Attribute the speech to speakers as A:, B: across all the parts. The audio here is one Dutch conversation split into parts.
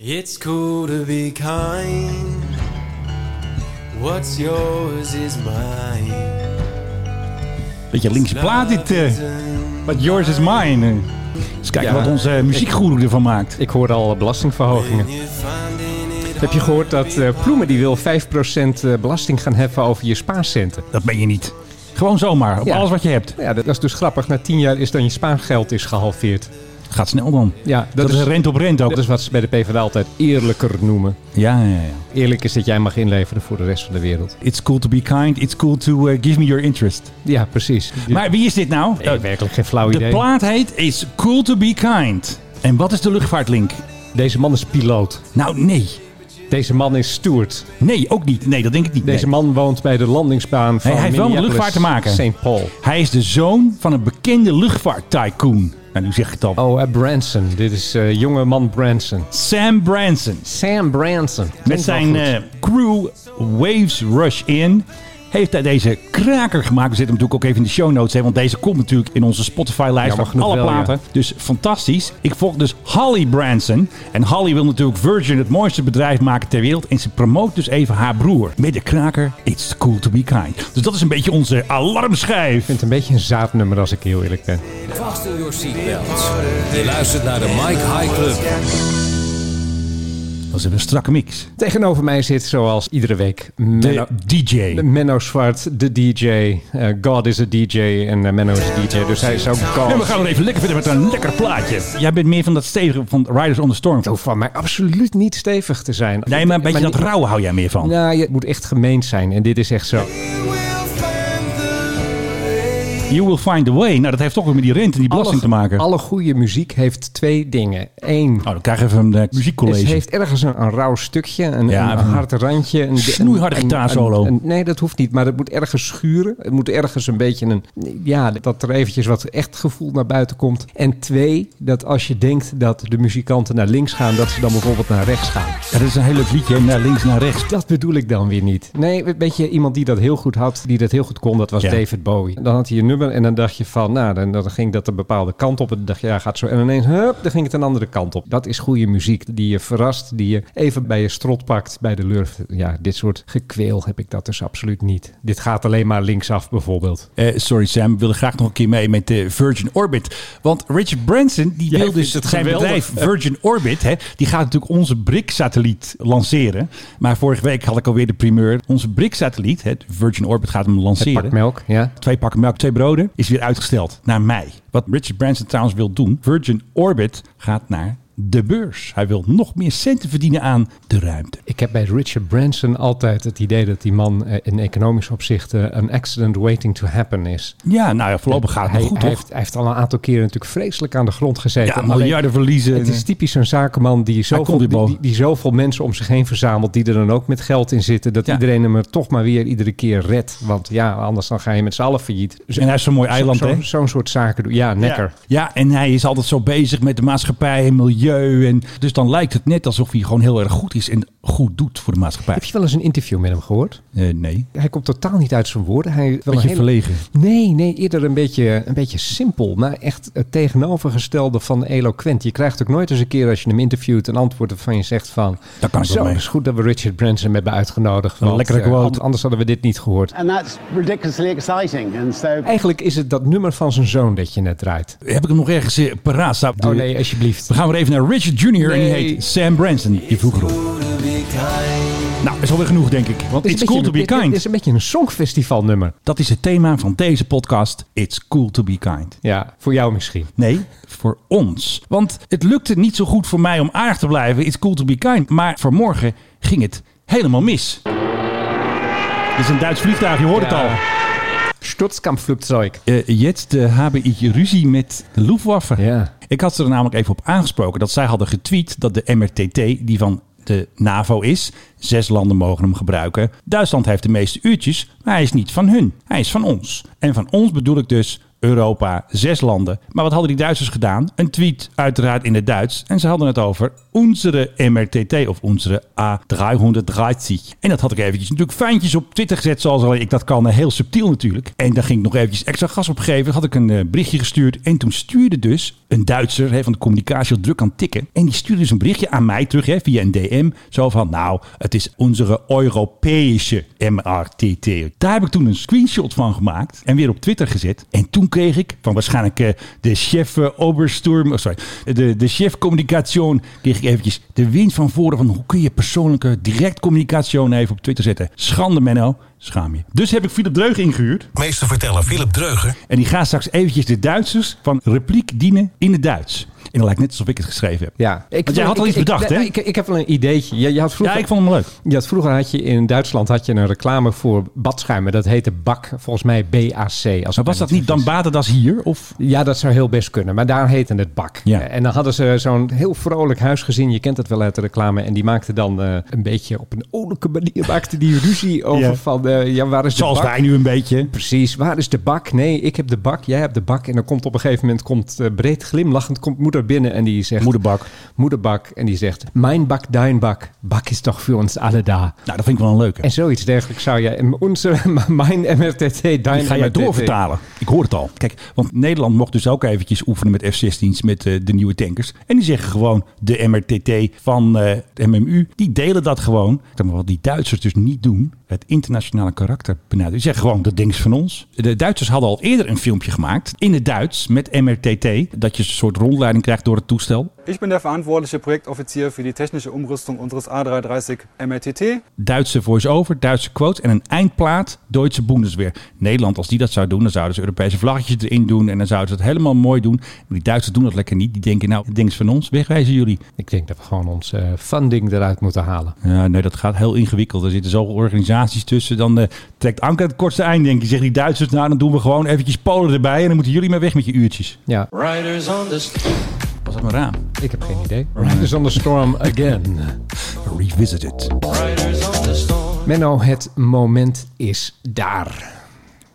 A: It's cool to be kind. What's yours is mine.
B: Beetje linkse plaat dit. eh. But yours is mine. eh. Eens kijken
C: Ja.
B: wat onze eh, muziekgoeroe ervan maakt.
C: Ik hoor al eh, belastingverhogingen. Heb je gehoord dat eh, Ploemen die wil 5% eh, belasting gaan heffen over je spaarcenten?
B: Dat ben je niet. Gewoon zomaar, op
C: Ja.
B: alles wat je hebt.
C: Nou Ja, dat is dus grappig. Na 10 jaar is dan je spaargeld is gehalveerd.
B: Gaat snel dan.
C: Ja, dat,
B: Dat,
C: is,
B: is rent op rent ook.
C: dat is wat ze bij de PvdA altijd eerlijker noemen.
B: Ja, ja, ja.
C: Eerlijk is dat jij mag inleveren voor de rest van de wereld.
B: It's cool to be kind. It's cool to eh, give me your interest.
C: Ja, precies.
B: Maar wie is dit nou?
C: Nee, werkelijk geen flauw
B: de
C: idee.
B: plaat heet Is Cool to be Kind. En wat is de luchtvaartlink?
C: Deze man is piloot.
B: Nou, nee.
C: Deze man is steward.
B: Nee, ook niet. Nee, dat denk ik niet.
C: Deze
B: Nee.
C: man woont bij de landingsbaan van
B: hij heeft wel met
C: Minneapolis,
B: luchtvaart te maken.
C: St. Paul.
B: Hij is de zoon van een bekende luchtvaarttycoon. Nou, nu zeg ik het al.
C: Oh, eh, Branson. Dit is eh, jonge man Branson.
B: Sam Branson.
C: Sam Branson.
B: Met
C: Klinkt
B: zijn
C: wel goed.
B: eh, crew Waves Rush In heeft hij deze kraker gemaakt. We zetten hem natuurlijk ook even in de show notes. Hè, want deze komt natuurlijk in onze Spotify-lijst
C: Jammer
B: van
C: genoeg
B: alle
C: wel, ja.
B: platen. Dus fantastisch. Ik volg dus Holly Branson. En Holly wil natuurlijk Virgin het mooiste bedrijf maken ter wereld. En ze promoot dus even haar broer. Met de kraker It's Cool To Be Kind. Dus dat is een beetje onze alarmschijf.
C: Ik vind het een beetje een zaadnummer als ik heel eerlijk ben.
D: Fasten your seatbelts. Je luistert naar de Mike High Club.
B: Dat is een strakke mix.
C: Tegenover mij zit zoals iedere week
B: De
C: Menno,
B: DJ.
C: Menno Zwart, de DJ. Eh, God is a DJ en eh, Menno is een DJ. Dus hij is ook
B: En we
C: God.
B: gaan er even lekker verder met een lekker plaatje. Jij bent meer van dat stevige van Riders on the Storm.
C: Het hoeft van mij absoluut niet stevig te zijn.
B: Nee, maar een beetje dat
C: niet-
B: rauwe hou jij meer van.
C: Nou, je het moet echt gemeen zijn. En dit is echt zo.
B: You will find the way. Nou, dat heeft toch weer met die rente en die belasting te maken.
C: Alle goede muziek heeft twee dingen. Eén,
B: Nou, dan krijg je even een eh,
C: het
B: muziekcollege.
C: heeft ergens een, een rauw stukje, een,
B: Ja,
C: een
B: even een
C: hard randje. Een,
B: snoeiharde
C: een- een-
B: gitaarsolo.
C: een- een- Nee, dat hoeft niet, maar het moet ergens schuren. Het moet ergens een beetje een... Ja, dat er eventjes wat echt gevoel naar buiten komt. En twee, dat als je denkt dat de muzikanten naar links gaan, dat ze dan bijvoorbeeld naar rechts gaan.
B: Ja, dat is een heel leuk liedje, hè, naar links, naar rechts.
C: Dat bedoel ik dan weer niet. Nee, een beetje iemand die dat heel goed had, die dat heel goed kon, dat was
B: Ja.
C: David Bowie. Dan had hij een nummer en dan dacht je van, nou, dan, dan ging dat een bepaalde kant op. En dan dacht je, ja, gaat zo. En ineens, hup, dan ging het een andere kant op. Dat is goede muziek die je verrast, die je even bij je strot pakt, bij de lurf. Ja, dit soort gekweel heb ik dat dus absoluut niet. Dit gaat alleen maar linksaf bijvoorbeeld.
B: Eh, sorry Sam, we willen graag nog een keer mee met eh, Virgin Orbit. Want Richard Branson, die
C: Jij
B: wil dus
C: vindt het
B: zijn
C: geweldig.
B: bedrijf Virgin Orbit... Hè, die gaat natuurlijk onze BRIC-satelliet lanceren. Maar vorige week had ik alweer de primeur. Onze BRIC-satelliet, hè, Virgin Orbit, gaat hem
C: Het
B: lanceren.
C: pak melk, ja.
B: twee pakken melk, twee broden, is weer uitgesteld naar mei. Wat Richard Branson trouwens wil doen, Virgin Orbit gaat naar de beurs. Hij wil nog meer centen verdienen aan de ruimte.
C: Ik heb bij Richard Branson altijd het idee dat die man eh, in economisch opzicht eh, een accident waiting to happen is.
B: Ja, nou ja, voorlopig gaat het
C: hij,
B: nog goed,
C: hij
B: toch?
C: heeft, hij heeft al een aantal keren natuurlijk vreselijk aan de grond gezeten.
B: Ja,
C: Alleen,
B: miljarden verliezen.
C: Het is typisch een zakenman die
B: komt
C: zoveel,
B: weer
C: die,
B: boven.
C: die, die zoveel mensen om zich heen verzamelt... die er dan ook met geld in zitten. Dat
B: Ja.
C: iedereen hem er toch maar weer iedere keer redt. Want ja, anders dan ga je met z'n allen failliet. Zo-
B: en hij is zo'n mooi eiland,
C: zo-
B: Dus hè?
C: Zo'n soort zaken doen. Ja, nekker.
B: Ja. ja, en hij is altijd zo bezig met de maatschappij en milieu. En dus dan lijkt het net alsof hij gewoon heel erg goed is en goed doet voor de maatschappij.
C: Heb je wel eens een interview met hem gehoord?
B: Eh, nee,
C: Hij komt totaal niet uit zijn woorden. Hij wel een
B: beetje
C: hele-
B: verlegen.
C: Nee, nee, eerder een beetje, een beetje simpel. Maar echt het tegenovergestelde van eloquent. Je krijgt ook nooit eens een keer als je hem interviewt... een antwoord waarvan je zegt van...
B: Daar kan ik wel
C: zo,
B: mee.
C: het is goed dat we Richard Branson hebben uitgenodigd.
B: Een
C: want,
B: lekkere
C: eh,
B: quote.
C: an- anders hadden we dit niet gehoord.
E: And that's ridiculously exciting. And so
C: Eigenlijk is het dat nummer van zijn zoon dat je net draait.
B: Heb ik hem nog ergens eh, paraat staan?
C: Oh nee, alsjeblieft.
B: We gaan weer even naar Richard Jr. en die
C: Nee.
B: heet Sam Branson. Die vroeg erop. Nou, is alweer genoeg, denk ik. Want
C: Het is
B: it's
C: een
B: cool to
C: beetje
B: be
C: een- Het
B: kind.
C: is een beetje een songfestivalnummer.
B: Dat is het thema van deze podcast. It's cool to be kind.
C: Ja, voor jou misschien.
B: Nee, voor ons. Want het lukte niet zo goed voor mij om aardig te blijven. It's cool to be kind. Maar vanmorgen ging het helemaal mis. Dit is een Duits vliegtuig, je hoort het
C: Ja.
B: al.
C: Stutzkampfvloekzeug.
B: Eh, jetzt eh, habe ich ruzie met de Luftwaffe.
C: Ja.
B: Ik had ze er namelijk even op aangesproken dat zij hadden getweet dat de MRTT, die van de NAVO is, zes landen mogen hem gebruiken. Duitsland heeft de meeste uurtjes, maar hij is niet van hun. Hij is van ons. En van ons bedoel ik dus Europa, zes landen. Maar wat hadden die Duitsers gedaan? Een tweet, uiteraard in het Duits. En ze hadden het over onze MRTT of onze A330. En dat had ik eventjes natuurlijk fijntjes op Twitter gezet, zoals alleen ik dat kan. eh, Heel subtiel natuurlijk. En daar ging ik nog eventjes extra gas op geven. Had ik een eh, berichtje gestuurd. En toen stuurde dus een Duitser hè, van de communicatie al druk aan het tikken. En die stuurde dus een berichtje aan mij terug hè, via een DM. Zo van, nou, het is onze Europese MRTT. Daar heb ik toen een screenshot van gemaakt en weer op Twitter gezet. En toen kreeg ik van waarschijnlijk eh, de chef eh, Obersturm, oh, sorry, de, de chef communication, kreeg ik eventjes de wind van voren van hoe kun je persoonlijke direct communicatie even op Twitter zetten. Schande Menno, schaam je. Dus heb ik Philip Dreug ingehuurd.
F: Meester vertellen Philip Dreuger.
B: En die gaat straks eventjes de Duitsers van repliek dienen in het Duits. En dat lijkt net alsof ik het geschreven heb.
C: Ja, ik,
B: Want jij had al
C: ik-
B: iets
C: ik-
B: bedacht, hè?
C: nee, Ik, ik heb wel een ideetje. Je, je had
B: Ja,
C: vroeger,
B: ik vond hem leuk.
C: je had vroeger had je in Duitsland had je een reclame voor badschuimen. Dat heette BAK, volgens mij BAC. Als
B: Maar
C: ik
B: was
C: me
B: dat niet
C: vergis.
B: dan Baderdas hier? Of?
C: Ja, dat zou heel best kunnen. Maar daar heette het bak. Eh,
B: Ja.
C: En dan hadden ze zo'n heel vrolijk huisgezin. Je kent het wel uit de reclame. En die maakte dan eh, een beetje op een olijke manier maakte die ruzie over
B: Ja.
C: van... eh, ja, waar is de
B: Zoals
C: bak?
B: wij nu een beetje.
C: Precies, waar is de bak? Nee, ik heb de bak, jij hebt de bak. En dan komt op een gegeven moment, komt eh, breed glimlachend, komt moeder binnen en die zegt...
B: Moederbak.
C: Moederbak. En die zegt, mijn bak, dein bak. Bak is toch voor ons alle daar.
B: Nou, dat vind ik wel een leuke.
C: En zoiets dergelijks zou jij... Onze, mijn MRTT, dein
B: Die ga jij
C: MRTT.
B: doorvertalen. Ik hoor het al. Kijk, want Nederland mocht dus ook eventjes oefenen met F-16's, met eh, de nieuwe tankers. En die zeggen gewoon, de MRTT van eh het MMU, die delen dat gewoon. Ik denk, Maar wat die Duitsers dus niet doen, het internationale karakter benaderen. Die zeggen gewoon, dat ding is van ons. De Duitsers hadden al eerder een filmpje gemaakt, in het Duits, met MRTT. Dat je een soort rondleiding krijgt door het toestel.
G: Ich bin der verantwortliche Projektoffizier für die technische Umrüstung unseres A330 MRTT.
B: Duitse voice-over, Duitse quotes en een eindplaat Duitse Bundeswehr. Nederland, als die dat zou doen, dan zouden ze Europese vlaggetjes erin doen en dan zouden ze het helemaal mooi doen. Maar die Duitsers doen dat lekker niet. Die denken, nou, het ding is van ons, wegwijzen jullie.
C: Ik denk dat we gewoon ons eh, funding eruit moeten halen.
B: Ja, nee, dat gaat heel ingewikkeld. Er zitten zoveel organisaties tussen. Dan eh, trekt Anker het kortste eind, denk je. Zeggen die Duitsers, nou, dan doen we gewoon eventjes Polen erbij en dan moeten jullie maar weg met je uurtjes.
C: Ja,
A: Riders on the storm.
B: Was dat maar raam?
C: ik heb geen idee. Riders on the storm again.
B: Revisited.
A: Riders on the storm.
C: Menno, het moment is daar.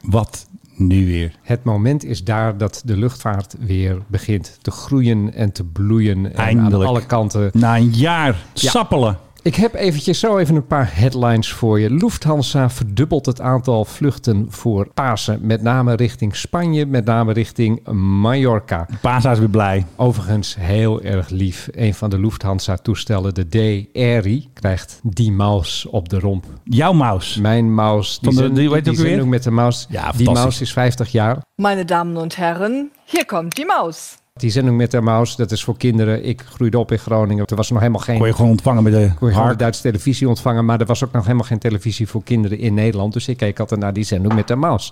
B: Wat nu weer?
C: Het moment is daar dat de luchtvaart weer begint te groeien en te bloeien. En
B: Eindelijk.
C: aan alle kanten.
B: Na een jaar
C: Ja.
B: sappelen.
C: Ik heb eventjes zo even een paar headlines voor je. Lufthansa verdubbelt het aantal vluchten voor Pasen. Met name richting Spanje, met name richting Mallorca.
B: Paasa is weer blij.
C: Overigens heel erg lief. Een van de Lufthansa-toestellen, de D Airy, krijgt die mouse op de romp.
B: Jouw mouse.
C: Mijn mouse. Die
B: Van de-
C: zend-
B: die- hoe heet
C: die
B: het ook
C: zending
B: weer?
C: met de mouse.
B: Ja,
C: die
B: fantastisch.
C: mouse is 50 jaar.
H: Meine Damen und Herren, hier kommt die Maus.
C: Die zending met de mouse, dat is voor kinderen. Ik groeide op in Groningen. Er was nog helemaal geen...
B: Kon je gewoon ontvangen met de
C: kon je gewoon de
B: hark.
C: Duitse televisie ontvangen. Maar er was ook nog helemaal geen televisie voor kinderen in Nederland. Dus ik keek altijd naar die zending met de mouse.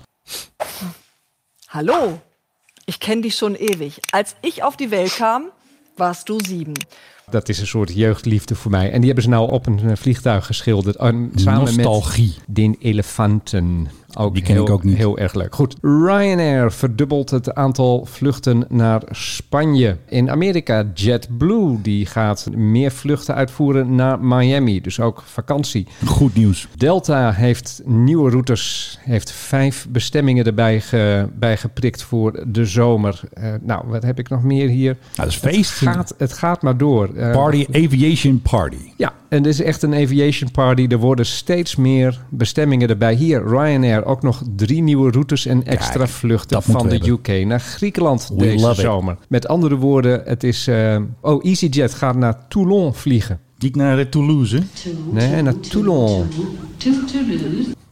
H: Hallo, ich kenne dich schon ewig. Als ich auf die Welt kam, warst du sieben.
C: Dat is een soort jeugdliefde voor mij. En die hebben ze nou op een eh, vliegtuig geschilderd. En samen
B: Nostalgie.
C: met Den Elefanten. Ook
B: Die ken
C: heel,
B: ik ook niet.
C: Heel erg leuk. Goed. Ryanair verdubbelt het aantal vluchten naar Spanje. In Amerika JetBlue die gaat meer vluchten uitvoeren naar Miami. Dus ook vakantie.
B: Goed nieuws.
C: Delta heeft nieuwe routes, heeft vijf bestemmingen erbij, ge, bij geprikt voor de zomer. Eh, nou, wat heb ik nog meer hier?
B: Nou, dat is feest.
C: Gaat, het gaat maar door. Eh,
B: Party, aviation party.
C: Ja, en dit is echt een aviation party. Er worden steeds meer bestemmingen erbij. Hier, Ryanair, ook nog drie nieuwe routes en extra
B: Kijk,
C: vluchten
B: dat moeten
C: van de
B: we
C: UK naar Griekenland
B: We
C: deze
B: love it.
C: zomer. Met andere woorden, het is... eh, oh, EasyJet gaat naar Toulon vliegen.
B: Niet naar eh, Toulouse. hè?
C: Nee, naar Toulon.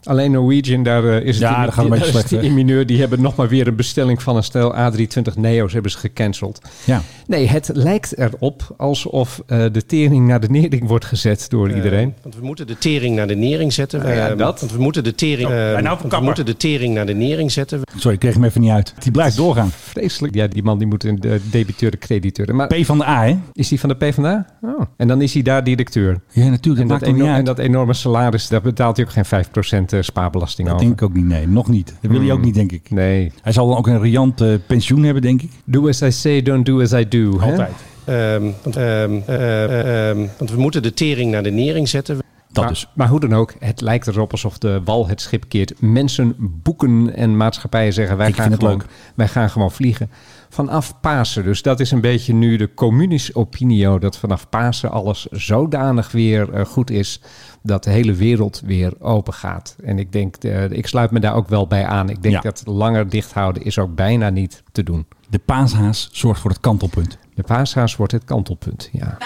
C: Alleen Norwegian, daar eh, is het
B: Ja,
C: in,
B: dat gaat een
C: die-
B: beetje
C: daar is
B: slecht,
C: die in mineur. Die hebben nog maar weer een bestelling van een stel A320 Neo's hebben oh, ze gecanceld.
B: Ja.
C: Nee, het lijkt erop alsof eh, de tering naar de nering wordt gezet door iedereen.
I: Want we moeten de tering naar de nering zetten.
C: Nou ja,
I: Eh,
C: dat.
I: Want we moeten de tering, eh,
B: nou voor
I: want we
B: kapper.
I: moeten de tering naar de nering zetten.
B: Sorry, ik kreeg hem even niet uit. Die blijft doorgaan.
C: Vreselijk. Ja, die man die moet een eh, debiteur, de crediteur. Maar
B: P van de A, hè?
C: is die van de PvdA? Oh. En dan is hij daar directeur.
B: Ja, natuurlijk.
C: En
B: Dat
C: dat,
B: maakt hem niet
C: eno- en
B: uit.
C: dat enorme salaris, daar betaalt hij ook geen 5% eh, spaarbelasting
B: Dat
C: over.
B: denk ik ook niet. Nee, nog niet. Dat wil hij ook niet, denk ik.
C: Nee.
B: Hij zal dan ook een riant eh, pensioen hebben, denk ik.
C: Do as I say, don't do as I do. hè?
B: Altijd.
I: Ehm, want, ehm, eh, eh, ehm, want we moeten de tering naar de nering zetten.
B: Dat
C: maar,
B: dus.
C: maar hoe dan ook, het lijkt erop alsof de wal het schip keert. Mensen boeken en maatschappijen zeggen wij,
B: Ik
C: gaan
B: vind het
C: gewoon,
B: leuk.
C: wij gaan gewoon vliegen. Vanaf Pasen dus. Dat is een beetje nu de communische opinio. Dat vanaf Pasen alles zodanig weer eh, goed is. Dat de hele wereld weer open gaat. En ik denk, eh, ik sluit me daar ook wel bij aan. Ik denk
B: Ja.
C: dat langer dicht houden is ook bijna niet te doen.
B: De paashaas zorgt voor het kantelpunt.
C: De paashaas wordt het kantelpunt. Ja.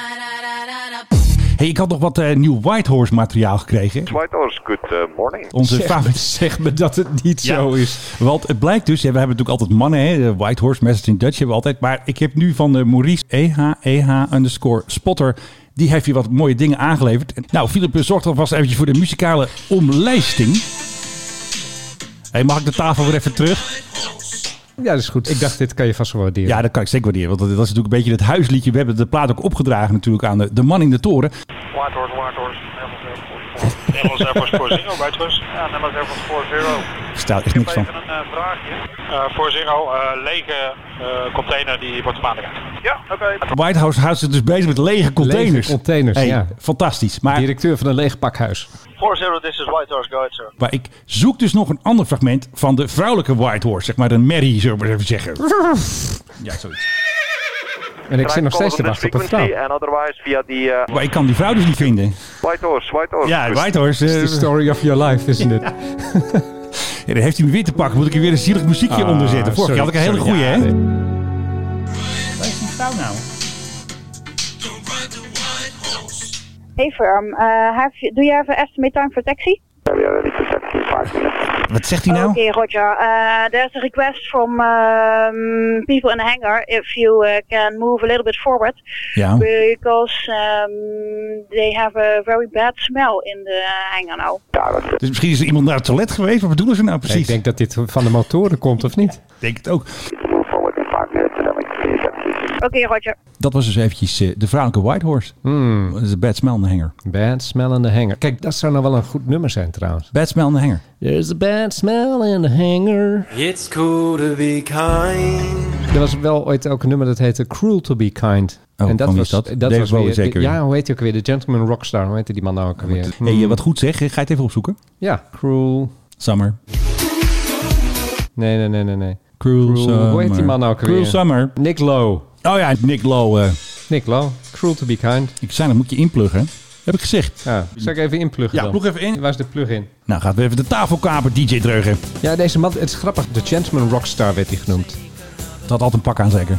B: hey, ik had nog wat eh, nieuw Whitehorse materiaal gekregen.
J: White Horse, good uh, morning.
B: Onze favoriete...
C: Zeg me dat het niet
B: Ja.
C: zo is.
B: Want het blijkt dus, ja, we hebben natuurlijk altijd mannen, hè, de White Horse Message in Dutch hebben we altijd. Maar ik heb nu van de Maurice EH, EH underscore spotter, die heeft hier wat mooie dingen aangeleverd. En, Nou, Philip zorgt alvast eventjes voor de muzikale omlijsting. hey, mag ik de tafel weer even terug?
C: Ja, dat is goed. Ik dacht, dit kan je vast wel waarderen.
B: Ja, dat kan ik zeker waarderen. Want dat dat is natuurlijk een beetje het huisliedje. We hebben de plaat ook opgedragen natuurlijk aan de, de man in de toren.
J: White Horse, White Horse, Nederlands Air Force 40, White Horse. Ja, Nederlands Air Force 40.
B: Er staat
J: Ik
B: echt
J: heb
B: niks van.
J: even een eh, vraagje. Uh, 40, eh, lege eh, container die wordt maandag uit. Ja, oké.
B: White House houdt zich dus bezig met lege containers.
C: containers,
B: Hey,
C: ja.
B: Fantastisch. Maar
C: Directeur van een leeg pakhuis.
J: 40, this is White Horse, go ahead, sir.
B: Maar ik zoek dus nog een ander fragment van de vrouwelijke White Horse. Zeg maar een Mary, zullen we maar even zeggen. Ja, zoiets.
C: En ik zit nog steeds te wachten op een vrouw.
J: And otherwise via die eh
B: Maar ik kan die vrouw dus niet vinden.
J: White Horse, White Horse.
B: Ja,
J: Goed.
B: White Horse.
C: It's the
B: eh,
C: story of your life, isn't it?
B: ja, dan heeft hij me weer te pakken. Moet ik er weer een zielig muziekje onder zetten. Vorig
C: sorry,
B: jaar had ik een hele
C: Ah, sorry,
B: goeie, hè?
C: ja, nee.
B: Waar is die vrouw nou?
K: Hey firm, uh, have you, do you have an estimate time for taxi?
B: Wat zegt hij nou?
K: Okay, Roger. Uh, there's a request from um, people in the hangar if you uh, can move a little bit forward
B: Ja.
K: because um, they have a very bad smell in the hangar now.
B: Dus misschien is er iemand naar het toilet geweest. Wat bedoelen ze nou precies?
C: Ik denk dat dit van de motoren komt, of niet?
B: Ik denk het ook.
K: Okay, Roger.
B: Dat was dus eventjes eh, de vrouwelijke White Horse.
C: Hmm.
B: Dat is een bad smell in de hanger.
C: Bad smell in the hanger. Kijk, dat zou nou wel een goed nummer zijn trouwens.
B: Bad smell in de hanger.
C: There's a bad smell in the hanger.
A: It's cool to be kind.
C: Er was wel ooit ook een nummer dat heette Cruel to be Kind.
B: Oh, van wie is dat? Dave Bowie
C: weer-
B: zeker weer.
C: Ja, hoe heet hij ook weer? De Gentleman Rockstar. Hoe heette die man nou ook weer?
B: Hey, eh, wat goed zeg. Ga je het even opzoeken?
C: Ja, Cruel.
B: Summer.
C: Nee, nee, nee, nee, nee.
B: Cruel,
C: Hoe heet die man nou ook
B: Cruel
C: weer?
B: Summer.
C: Nick Lowe.
B: Oh ja, Nick Lowe. eh,
C: Nick Lowe. Cruel to be kind.
B: Ik zei, dat moet je inpluggen. Heb ik gezegd.
C: Ja, zal ik even inpluggen
B: Ja,
C: dan?
B: plug even in.
C: Waar is de plug in?
B: Nou, gaat weer even de tafel kapen, DJ Dreugen.
C: Ja, deze man, het is grappig. De Gentleman Rockstar werd hij genoemd.
B: Dat had altijd een pak aan, zeker.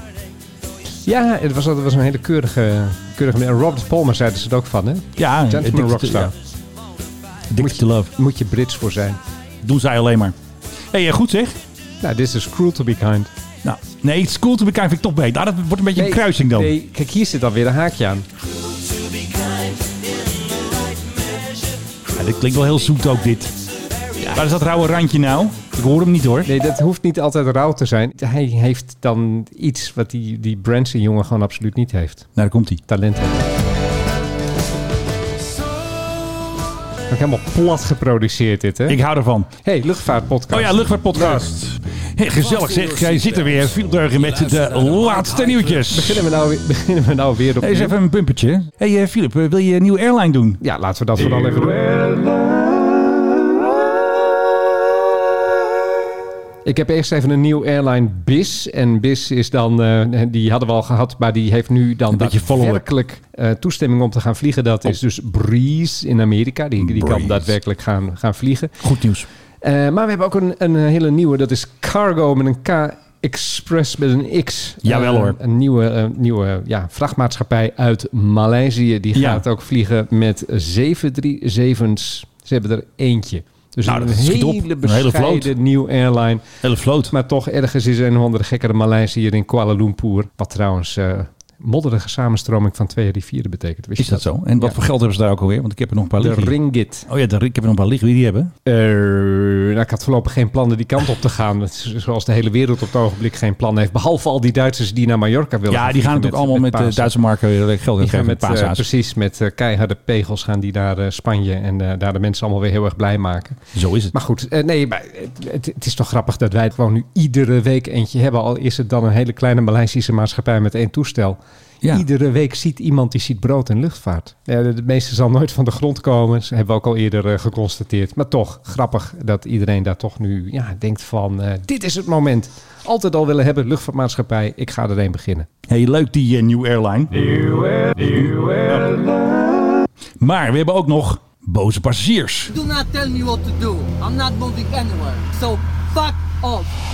C: Ja, het was, het was een hele keurige, keurige meneer. En Robert Palmer zeiden ze het ook van, hè?
B: Ja,
C: Gentleman
B: Addicted-
C: Rockstar.
B: ja, Addicted to love.
C: Moet je Brits voor zijn.
B: Doen zij alleen maar. hey, eh, goed zeg.
C: Nou, dit is dus cruel to be kind.
B: Nou, nee, it's cool to be kind vind ik toch beter. Nou, dat wordt een beetje een
C: Nee,
B: kruising dan.
C: Nee, kijk, hier zit dan weer een haakje aan.
B: Ja, dit klinkt wel heel zoet ook, dit. Waar is dat rauwe randje nou? Ik hoor hem niet, hoor.
C: Nee, dat hoeft niet altijd rauw te zijn. Hij heeft dan iets wat die, die Branson-jongen gewoon absoluut niet heeft.
B: Nou, daar komt hij.
C: Talent heeft. Ook helemaal plat geproduceerd dit, hè?
B: Ik hou ervan.
C: hey, luchtvaartpodcast.
B: Oh ja, luchtvaartpodcast. Hey, gezellig zeg. Jij zit er weer. Veel Dreugen met de laatste nieuwtjes.
C: Beginnen we nou, weer- beginnen we nou weer op.
B: Hey, Eens even een bumpertje. hey, eh, Filip, eh, wil je een nieuwe airline doen?
C: Ja, laten we dat vooral even doen. Ik heb eerst even een nieuw airline, BIS. En BIS is dan, eh, die hadden we al gehad, maar die heeft nu dan
B: Een beetje follow-up.
C: daadwerkelijk eh, toestemming om te gaan vliegen. Dat is dus Breeze in Amerika. Die, die kan
B: Breeze.
C: daadwerkelijk gaan, gaan vliegen.
B: Goed nieuws.
C: Eh, maar we hebben ook een, een hele nieuwe, dat is Cargo met een K. Express met een X.
B: Jawel,
C: Eh,
B: hoor.
C: Een nieuwe, eh, nieuwe ja, vrachtmaatschappij uit Maleisië. Die
B: Ja.
C: gaat ook vliegen met 737's. Ze hebben er eentje. Dus
B: Nou,
C: een,
B: dat schiet
C: hele
B: op. Een hele vloot.
C: bescheiden nieuw airline.
B: Hele vloot.
C: Maar toch ergens is er een of andere gekkere Maleisiër in Kuala Lumpur. Wat trouwens eh, modderige samenstroming van twee rivieren betekent. Wist
B: Is
C: je
B: dat zo? En wat
C: Ja.
B: voor geld hebben ze daar ook alweer? Want ik heb er nog een paar
C: De
B: liggen.
C: Ringgit.
B: Oh ja, de ring. Ik heb er nog een paar liggen. Wie die hebben?
C: Eh, nou, ik had voorlopig geen plannen die kant op te gaan. Dat is Zoals de hele wereld op het ogenblik geen plan heeft. Behalve al die Duitsers die naar Mallorca willen.
B: Ja,
C: gaan
B: die gaan
C: vliegen
B: natuurlijk allemaal met, de
C: Pasen.
B: Duitse marken weer geld
C: Die
B: uitgeven
C: gaan
B: met
C: met, eh,
B: Pasa's.
C: precies, met eh, keiharde pegels gaan die naar eh, Spanje. En eh, daar de mensen allemaal weer heel erg blij maken.
B: Zo is het.
C: Maar goed, eh, nee, maar het, het- het is toch grappig dat wij gewoon nu iedere week eentje hebben. Al is het dan een hele kleine Maleisische maatschappij met één toestel.
B: Ja.
C: Iedere week ziet iemand die ziet brood en luchtvaart. Ja, de, de meeste zal nooit van de grond komen. Dat hebben we ook al eerder eh, geconstateerd. Maar toch, grappig dat iedereen daar toch nu ja, denkt van... eh, dit is het moment. Altijd al willen hebben, luchtvaartmaatschappij. Ik ga er een beginnen.
B: Hey, leuk die eh, New Airline. Maar we hebben ook nog boze passagiers.
L: Do not tell me what to do. I'm not moving anywhere. So fuck off.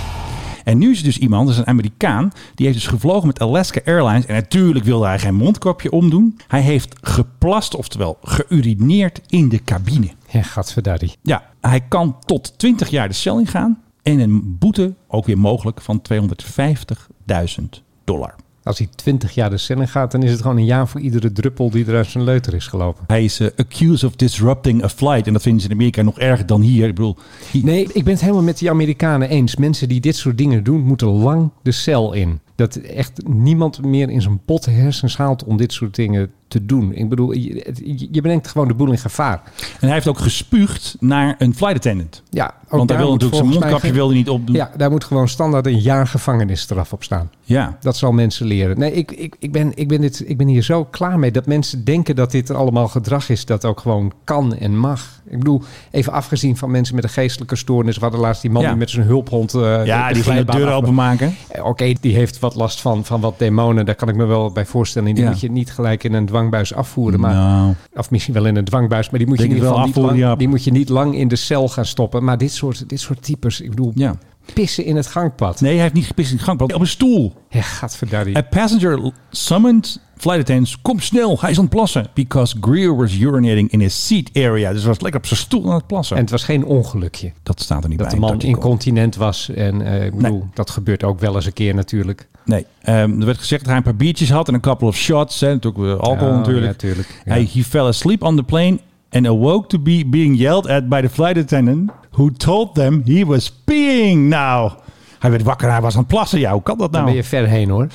B: En nu is er dus iemand, dat is een Amerikaan, die heeft dus gevlogen met Alaska Airlines. En natuurlijk wilde hij geen mondkapje omdoen. Hij heeft geplast, oftewel geurineerd in de cabine.
C: Ja, gadverdaddy.
B: Ja, hij kan tot 20 jaar de cel ingaan. En een boete, ook weer mogelijk, van 250.000 dollar.
C: Als hij 20 jaar de cel in gaat, dan is het gewoon een jaar voor iedere druppel die er uit zijn leuter is gelopen.
B: Hij is eh, accused of disrupting a flight. En dat vinden ze in Amerika nog erger dan hier. Ik bedoel, hier-
C: Nee, ik ben het helemaal met die Amerikanen eens. Mensen die dit soort dingen doen, moeten lang de cel in. Dat echt niemand meer in zijn botte hersens haalt om dit soort dingen te doen. Ik bedoel, je, het- je- je brengt gewoon de boel in gevaar.
B: En hij heeft ook gespuugd naar een flight attendant.
C: Ja, ook
B: Want
C: daar
B: hij wilde
C: moet
B: natuurlijk zijn
C: volgens mij
B: mondkapje
C: geen-
B: wilde niet opdoen.
C: Ja, daar moet gewoon standaard een jaar gevangenisstraf op staan.
B: ja.
C: Dat zal mensen leren. Nee, ik, ik, ik, ben, ik, ben dit, ik ben hier zo klaar mee dat mensen denken dat dit allemaal gedrag is dat ook gewoon kan en mag. Ik bedoel, even afgezien van mensen met een geestelijke stoornis. We hadden laatst die man
B: Ja.
C: die met zijn hulphond. eh,
B: Ja, die ging de
C: glijbaan
B: deur
C: af-
B: openmaken.
C: Eh, Oké, die heeft wat last van, van wat demonen. Daar kan ik me wel bij voorstellen. En die
B: Ja.
C: moet je niet gelijk in een dwangbuis afvoeren. Maar,
B: Nou.
C: Of misschien wel in een dwangbuis. Maar die moet, je in
B: Denk
C: ieder
B: het
C: geval
B: wel
C: niet
B: afvoeren,
C: lang,
B: ja.
C: die moet je niet lang in de cel gaan stoppen. Maar dit soort, dit soort types. Ik bedoel,
B: Ja.
C: pissen in het gangpad.
B: Nee, hij heeft niet gepist in de gangpad. Op een stoel.
C: Ja, gadverdarrie.
B: A passenger summoned flight attendants. Kom snel, hij is aan het plassen. Because Greer was urinating in his seat area. Dus hij was lekker op zijn stoel aan het plassen.
C: En het was geen ongelukje.
B: dat staat er niet
C: Dat de
B: bij.
C: man
B: in het artikel.
C: incontinent was. En eh, ik bedoel, dat gebeurt ook wel eens een keer natuurlijk.
B: Nee, ehm, er werd gezegd dat hij een paar biertjes had en een couple of shots. Hè, natuurlijk eh, alcohol
C: Ja,
B: natuurlijk.
C: ja, tuurlijk, ja.
B: Hij, he fell asleep on the plane and awoke to be being yelled at by the flight attendant who told them he was peeing now. Hij werd wakker, hij was aan het plassen. Ja, hoe kan dat
C: Dan
B: nou?
C: ben je ver heen hoor.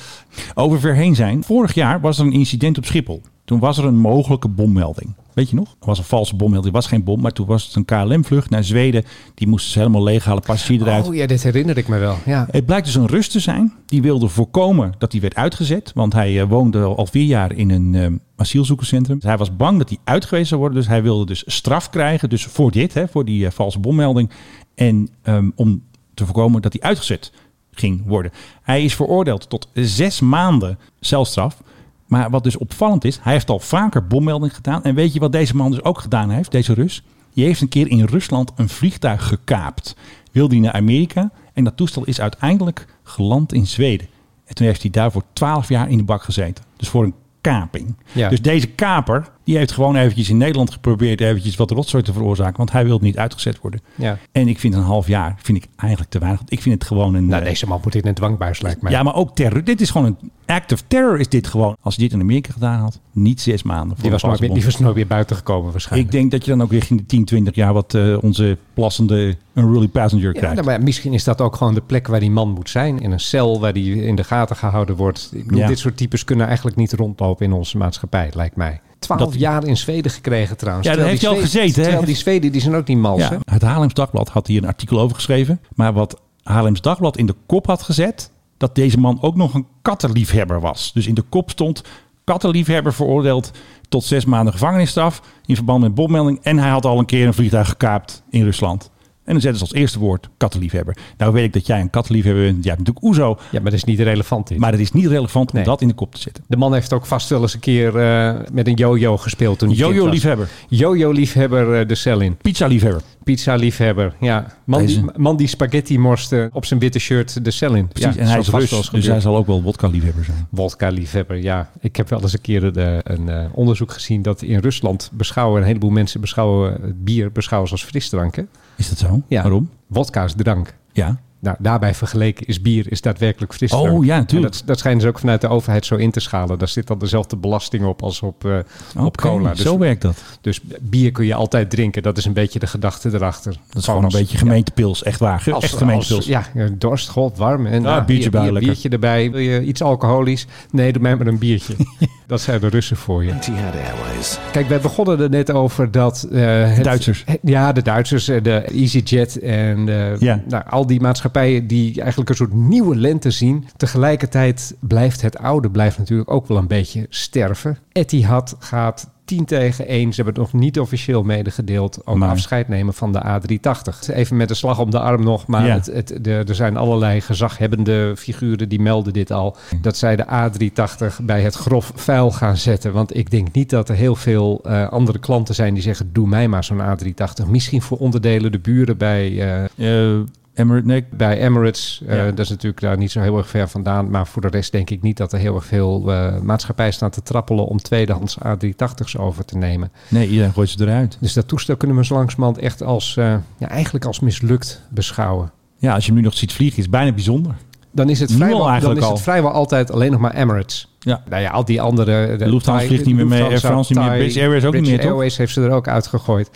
B: Over ver heen zijn. Vorig jaar was er een incident op Schiphol. Toen was er een mogelijke bommelding. Weet je nog? Er was een valse bommelding. Het was geen bom, maar toen was het een KLM-vlucht naar Zweden. Die moesten ze helemaal leeghalen, passagier eruit.
C: Oh ja, dit herinner ik me wel. Ja.
B: Het blijkt dus een Rus te zijn. Die wilde voorkomen dat hij werd uitgezet. Want hij eh, woonde al vier jaar in een eh, asielzoekerscentrum. Hij was bang dat hij uitgewezen zou worden. Dus hij wilde dus straf krijgen. Dus voor dit, hè, voor die eh, valse bommelding. En ehm, om te voorkomen dat hij uitgezet ging worden. Hij is veroordeeld tot zes maanden celstraf. Maar wat dus opvallend is, hij heeft al vaker bommelding gedaan. En weet je wat deze man dus ook gedaan heeft, deze Rus? Die heeft een keer in Rusland een vliegtuig gekaapt. Wilde hij naar Amerika. En dat toestel is uiteindelijk geland in Zweden. En toen heeft hij daarvoor 12 jaar in de bak gezeten. Dus voor een kaping.
C: Ja.
B: Dus deze kaper, die heeft gewoon eventjes in Nederland geprobeerd... eventjes wat rotzooi te veroorzaken. Want hij wilde niet uitgezet worden.
C: Ja.
B: En ik vind een half jaar vind ik eigenlijk te weinig. Ik vind het gewoon een...
C: Nou,
B: eh,
C: deze man moet in een dwangbuis lijkt mij.
B: ja, maar ook terror. Dit is gewoon een act of terror is dit gewoon. Als je dit in Amerika gedaan had, niet zes maanden. voor
C: die,
B: een
C: was nooit
B: valse
C: meer, die
B: bom.
C: was nooit meer buiten gekomen
B: Ik
C: waarschijnlijk.
B: denk dat je dan ook richting de 10, 20 jaar wat eh, onze plassende unruly passenger
C: Ja,
B: krijgt.
C: nou, maar misschien is dat ook gewoon de plek waar die man moet zijn. In een cel waar die in de gaten gehouden wordt. Ik bedoel,
B: Ja.
C: dit soort types kunnen eigenlijk niet rondlopen in onze maatschappij, lijkt mij. Twaalf
B: Dat-
C: jaar in Zweden gekregen trouwens.
B: Ja, daar heeft
C: Terwijl
B: hij
C: die
B: al
C: Zweden-
B: gezeten, hè?
C: Terwijl die Zweden, die zijn ook niet mals, hè?
B: Ja, het Haarlems Dagblad had hier een artikel over geschreven. Maar wat Haarlems Dagblad in de kop had gezet... dat deze man ook nog een kattenliefhebber was. Dus in de kop stond... kattenliefhebber veroordeeld tot zes maanden gevangenisstraf... in verband met bommelding. En hij had al een keer een vliegtuig gekaapt in Rusland. En dan zetten ze als eerste woord kattenliefhebber. Nou weet ik dat jij een kattenliefhebber bent. Jij hebt natuurlijk Oezo.
C: Ja, maar dat is niet relevant dit.
B: Maar het is niet relevant om
C: Nee.
B: dat in de kop te zetten.
C: De man heeft ook vast wel eens een keer eh, met een jojo gespeeld toen hij kind was.
B: Jojo-liefhebber.
C: Jojo-liefhebber eh, de cel in.
B: Pizza-liefhebber.
C: Pizza-liefhebber, ja. Man die,
B: Deze.
C: man die spaghetti morste op zijn witte shirt de cel in.
B: Precies.
C: Ja,
B: en hij
C: zo
B: is
C: vast
B: Rus,
C: wel
B: dus
C: eens gebeurd.
B: hij zal ook wel wodka-liefhebber zijn.
C: Wodka-liefhebber, ja. Ik heb wel eens een keer eh, een eh, onderzoek gezien dat in Rusland beschouwen, een heleboel mensen beschouwen eh, bier beschouwen als frisdranken.
B: Is dat zo?
C: Ja.
B: Waarom?
C: Wodka is drank.
B: Ja.
C: Nou, daarbij vergeleken is bier is daadwerkelijk frisdrank.
B: Oh, ja,
C: En
B: natuurlijk.
C: Dat, dat schijnen ze ook vanuit de overheid zo in te schalen. Daar zit dan dezelfde belasting op als op, eh, op
B: Oké,
C: cola. Dus,
B: Zo werkt dat.
C: dus bier kun je altijd drinken. Dat is een beetje de gedachte erachter.
B: Dat is gewoon een
C: als-
B: beetje gemeentepils, echt waar. Ge-
C: Als,
B: echt
C: als,
B: gemeentepils.
C: ja, eh, dorst, god, warm. En
B: Ja,
C: ah,
B: biertje
C: hier,
B: bij,
C: hier,
B: lekker.
C: biertje erbij. Wil je iets alcoholisch? Nee, doe mij maar een biertje. dat zijn de Russen voor je.
F: Etihad Airways.
C: Kijk, wij begonnen er net over dat... eh, het-
B: Duitsers.
C: het- ja, de Duitsers, eh, de EasyJet en eh,
B: Ja.
C: nou, al die maatschappij die eigenlijk een soort nieuwe lente zien. Tegelijkertijd blijft het oude blijft natuurlijk ook wel een beetje sterven. Etihad gaat 10 tegen 1. Ze hebben het nog niet officieel medegedeeld. Ook
B: Nee.
C: afscheid nemen van de A380. Even met een slag om de arm nog. Maar
B: Ja.
C: het, het, de, er zijn allerlei gezaghebbende figuren die melden dit al.
B: Hm.
C: Dat zij de A380 bij het grof vuil gaan zetten. Want ik denk niet dat er heel veel eh, andere klanten zijn die zeggen... doe mij maar zo'n A380. Misschien voor onderdelen de buren bij... eh,
B: Eh, Emirates,
C: Bij Emirates, eh,
B: Ja.
C: dat is natuurlijk daar niet zo heel erg ver vandaan. Maar voor de rest denk ik niet dat er heel erg veel eh maatschappij staat te trappelen om tweedehands A380's over te nemen.
B: Nee, iedereen gooit ze eruit.
C: Dus dat toestel kunnen we zo langzamerhand echt als, eh, ja, eigenlijk als mislukt beschouwen.
B: Ja, als je hem nu nog ziet vliegen, is het bijna bijzonder.
C: Dan is het
B: Nu al
C: vrijwel, dan
B: eigenlijk
C: is het
B: al.
C: vrijwel altijd alleen nog maar Emirates.
B: Ja.
C: Nou ja, al die andere...
B: De Lufthansa
C: Thai-
B: vliegt niet meer mee,
C: Lufthansa,
B: Air France niet meer,
C: Thai,
B: British Airways ook niet
C: British
B: meer, toch?
C: Airways heeft ze er ook uitgegooid.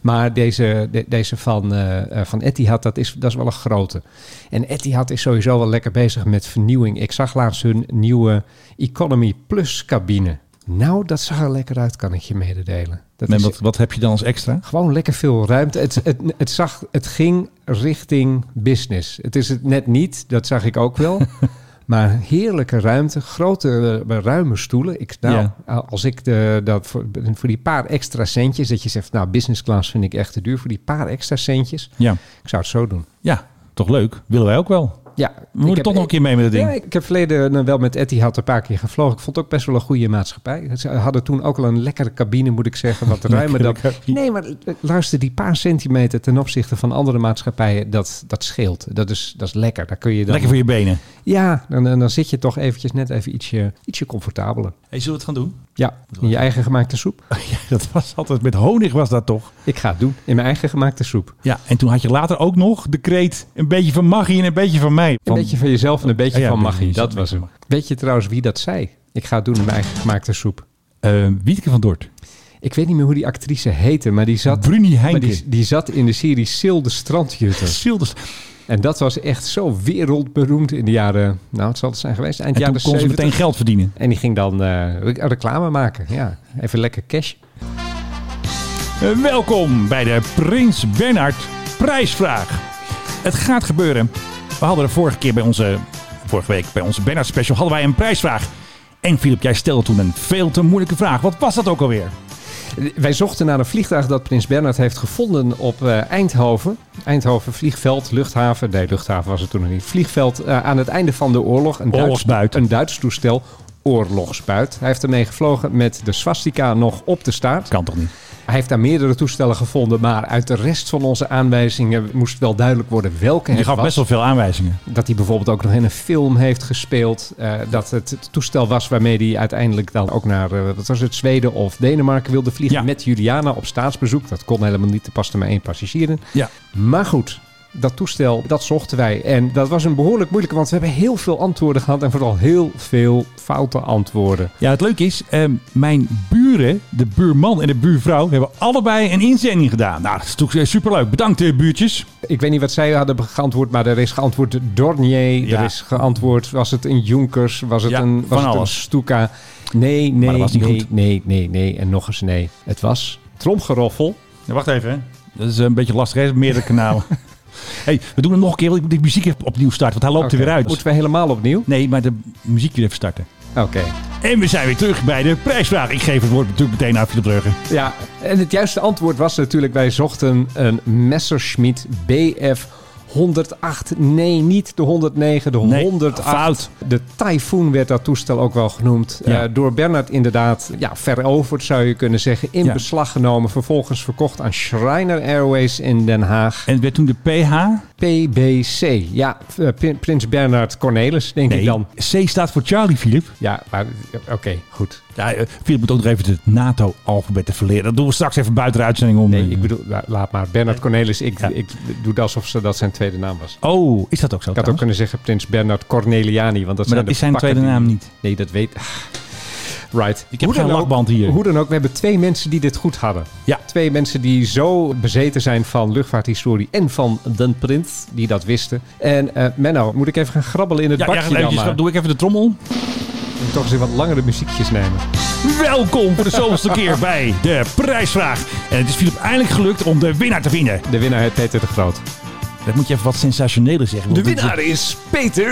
C: Maar deze, de- deze van, eh, eh, van Etihad, dat is, dat is wel een grote. En Etihad is sowieso wel lekker bezig met vernieuwing. Ik zag laatst hun nieuwe Economy Plus cabine. Nou, dat zag er lekker uit, kan ik je mededelen. Dat
B: Nee,
C: is
B: wat, wat heb je dan als extra?
C: gewoon lekker veel ruimte. Het, het, het, zag, het ging richting business. Het is het net niet, dat zag ik ook wel. Maar heerlijke ruimte, grote, eh, ruime stoelen. Ik, nou, Als ik de, dat voor, voor die paar extra centjes, dat je zegt, nou, business class vind ik echt te duur. Voor die paar extra centjes,
B: Ja.
C: ik zou het zo doen.
B: Ja, toch leuk. Willen wij ook wel.
C: Ja,
B: We moeten
C: ik heb-
B: toch nog een keer mee met het ding.
C: Ja, ik heb verleden eh, wel met Etihad een paar keer gevlogen. Ik vond het ook best wel een goede maatschappij. Ze hadden toen ook al een lekkere cabine, moet ik zeggen. Wat ruimer dan... Nee, maar eh, luister, die paar centimeter ten opzichte van andere maatschappijen, dat, dat scheelt. Dat is, dat is lekker. Daar kun je dan...
B: Lekker voor je benen.
C: Ja, dan, dan dan zit je toch eventjes net even ietsje, ietsje comfortabeler.
B: Hey, zullen we het gaan doen?
C: Ja, in je eigen gemaakte soep.
B: dat was altijd met honig was dat toch?
C: Ik ga het doen. In mijn eigen gemaakte soep.
B: Ja, en toen had je later ook nog de kreet een beetje van Maggie en een beetje van mij.
C: Een beetje van jezelf en een
B: Ja,
C: beetje
B: Oh ja,
C: van
B: een beetje
C: magie.
B: van
C: Dat was hem. Weet je trouwens wie dat zei? Ik ga het doen in mijn eigen gemaakte soep.
B: Eh, Wietke van Dort.
C: Ik weet niet meer hoe die actrice heette, maar die zat...
B: Bruni
C: Maar
B: Heinke.
C: die, die zat in de serie Sil de Strandjutter.
B: Schilders.
C: En dat was echt zo wereldberoemd in de jaren... Nou, het zal het zijn geweest. Eind
B: En toen
C: jaren
B: kon ze
C: 70.
B: meteen geld verdienen.
C: En die ging dan eh, reclame maken. Ja, even lekker cash.
B: Eh, Welkom bij de Prins Bernhard prijsvraag. Het gaat gebeuren. We hadden de vorige keer bij onze vorige week bij onze Bernhard special hadden wij een prijsvraag. En Filip, jij stelde toen een veel te moeilijke vraag. Wat was dat ook alweer?
C: Wij zochten naar een vliegtuig dat Prins Bernhard heeft gevonden op eh, Eindhoven. Eindhoven vliegveld, luchthaven. Nee, luchthaven was het toen nog niet. Vliegveld eh, aan het einde van de oorlog. Een
B: Oorlogsbuit.
C: Duits, een Duits toestel. Oorlogsbuit. Hij heeft ermee gevlogen met de swastika nog op de staart.
B: Kan toch niet?
C: Hij heeft daar meerdere toestellen gevonden, maar uit de rest van onze aanwijzingen moest wel duidelijk worden welke
B: Je
C: het
B: gaf
C: was.
B: best wel veel aanwijzingen.
C: Dat hij bijvoorbeeld ook nog in een film heeft gespeeld. eh, dat het het toestel was waarmee hij uiteindelijk dan ook naar eh, wat was het, Zweden of Denemarken wilde vliegen.
B: Ja.
C: Met Juliana op staatsbezoek. Dat kon helemaal niet. Er paste maar één passagier in.
B: Ja.
C: Maar goed, dat toestel, dat zochten wij. En dat was een behoorlijk moeilijke, want we hebben heel veel antwoorden gehad. En vooral heel veel foute antwoorden.
B: Ja, het leuke is, ehm, mijn buren, de buurman en de buurvrouw, hebben allebei een inzending gedaan. Nou, dat is toch eh, superleuk. Bedankt, eh, buurtjes.
C: Ik weet niet wat zij hadden geantwoord, maar er is geantwoord Dornier.
B: Ja.
C: Er is geantwoord, was het een Junkers? Was het
B: Ja,
C: een, was
B: van
C: het een
B: alles.
C: Stuka? Nee, nee,
B: dat was niet
C: nee,
B: goed.
C: nee, nee, nee. En nog eens nee. Het was tromgeroffel.
B: Ja, wacht even, hè. Dat is een beetje lastig, hè? Meerdere kanalen. hey, we doen het nog een keer, want ik moet die muziek even opnieuw starten, want hij loopt
C: Oké,
B: er weer uit.
C: Moeten we helemaal opnieuw?
B: Nee, maar de muziek weer even starten.
C: Oké.
B: En we zijn weer terug bij de prijsvraag. Ik geef het woord natuurlijk meteen aan Philip Dreugen.
C: Ja, en het juiste antwoord was natuurlijk... wij zochten een Messerschmitt BF 108. Nee, niet de 109, de
B: Nee,
C: 108.
B: fout.
C: De Typhoon werd dat toestel ook wel genoemd.
B: Ja.
C: Eh, door Bernard inderdaad ja, veroverd, zou je kunnen zeggen. In
B: Ja.
C: beslag genomen. Vervolgens verkocht aan Shriner Airways in Den Haag.
B: En het werd toen de PH.
C: PBC. Ja, eh, Prin- Prins Bernard Cornelis, denk ik dan.
B: C staat voor Charlie, Philip.
C: Ja, maar oké, goed.
B: Ja, eh, Philip moet ook nog even het NATO-alfabet te verleren. Dat doen we straks even buiten de uitzending om. eh.
C: Nee, ik bedoel, la- laat maar. Bernard Cornelis, ik,
B: Ja.
C: ik doe het alsof ze, dat zijn tweede naam was.
B: Oh, is dat ook zo?
C: Ik had ook
B: trouwens?
C: kunnen zeggen Prins Bernard Corneliani, want dat
B: Maar
C: zijn
B: dat is
C: de
B: zijn
C: pakken
B: tweede
C: die-
B: naam niet.
C: Nee, dat weet... Ah, Right.
B: Ik heb
C: Hoe dan
B: geen
C: ook-
B: lachband hier.
C: Hoe dan ook, we hebben twee mensen die dit goed hadden.
B: Ja.
C: Twee mensen die zo bezeten zijn van luchtvaarthistorie en van Den Prins, die dat wisten. En eh Menno, moet ik even gaan grabbelen in het
B: Ja, ja,
C: bakje dan
B: eventjes,
C: maar?
B: doe ik even de trommel.
C: Moet Toch eens even wat langere muziekjes nemen.
B: Welkom voor de zoveelste keer bij de prijsvraag. En het is Philip eindelijk gelukt om de winnaar te vinden.
C: De winnaar heet Peter de Groot.
B: Dat moet je even wat sensationeler zeggen.
C: De
B: want dit-
C: winnaar is Peter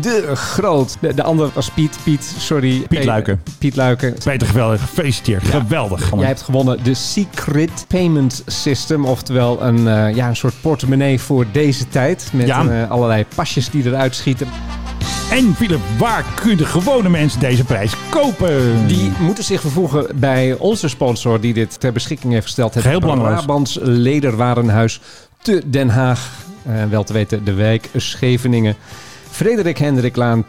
C: de Groot. De, de ander was Piet. Piet, sorry. Eh,
B: Piet Luiken.
C: Piet Luiken.
B: Peter Geweldig, gefeliciteerd. Geweldig.
C: Jij hebt gewonnen de Secret Payment System. Oftewel een, eh, ja, een soort portemonnee voor deze tijd. Met
B: Ja.
C: eh, allerlei pasjes die eruit schieten.
B: En Philip, waar kunnen gewone mensen deze prijs kopen?
C: Die moeten zich vervoegen bij onze sponsor die dit ter beschikking heeft gesteld. Het
B: Geheel belangeloos.
C: Brabants Lederwarenhuis te Den Haag. Eh, wel te weten, de wijk Scheveningen. Frederik Hendriklaan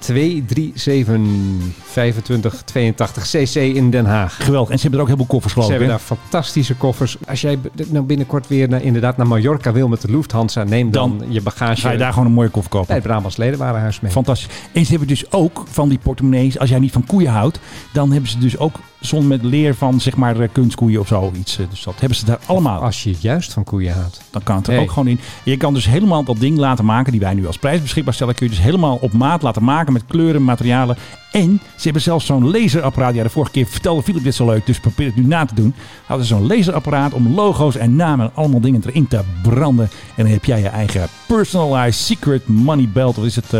C: 237 25 82 CC in Den Haag.
B: Geweldig. En ze hebben er ook heel veel koffers
C: Ze
B: geloof ik.
C: hebben
B: hè?
C: daar fantastische koffers. Als jij b- nou binnenkort weer naar, inderdaad naar Mallorca wil met de Lufthansa, neem dan, je bagage
B: Ga je daar gewoon een mooie koffer kopen.
C: bij het Brabants Ledenwarenhuis mee.
B: Fantastisch. En ze hebben dus ook van die portemonnees, als jij niet van koeien houdt, dan hebben ze dus ook zon met leer van zeg maar eh, kunstkoeien of zo. Iets. eh, Dus dat hebben ze daar allemaal.
C: Als je juist van koeien houdt.
B: Dan kan het er
C: Hey.
B: ook gewoon in. Je kan dus helemaal dat ding laten maken die wij nu als prijs beschikbaar stellen. Kun je dus helemaal op maat laten maken met kleuren, materialen. En ze hebben zelfs zo'n laserapparaat. Ja, de vorige keer vertelde Philip dit zo leuk, dus probeer het nu na te doen. Hadden ze zo'n laserapparaat om logo's en namen en allemaal dingen erin te branden. En dan heb jij je eigen personalized secret money belt. Wat is het? eh,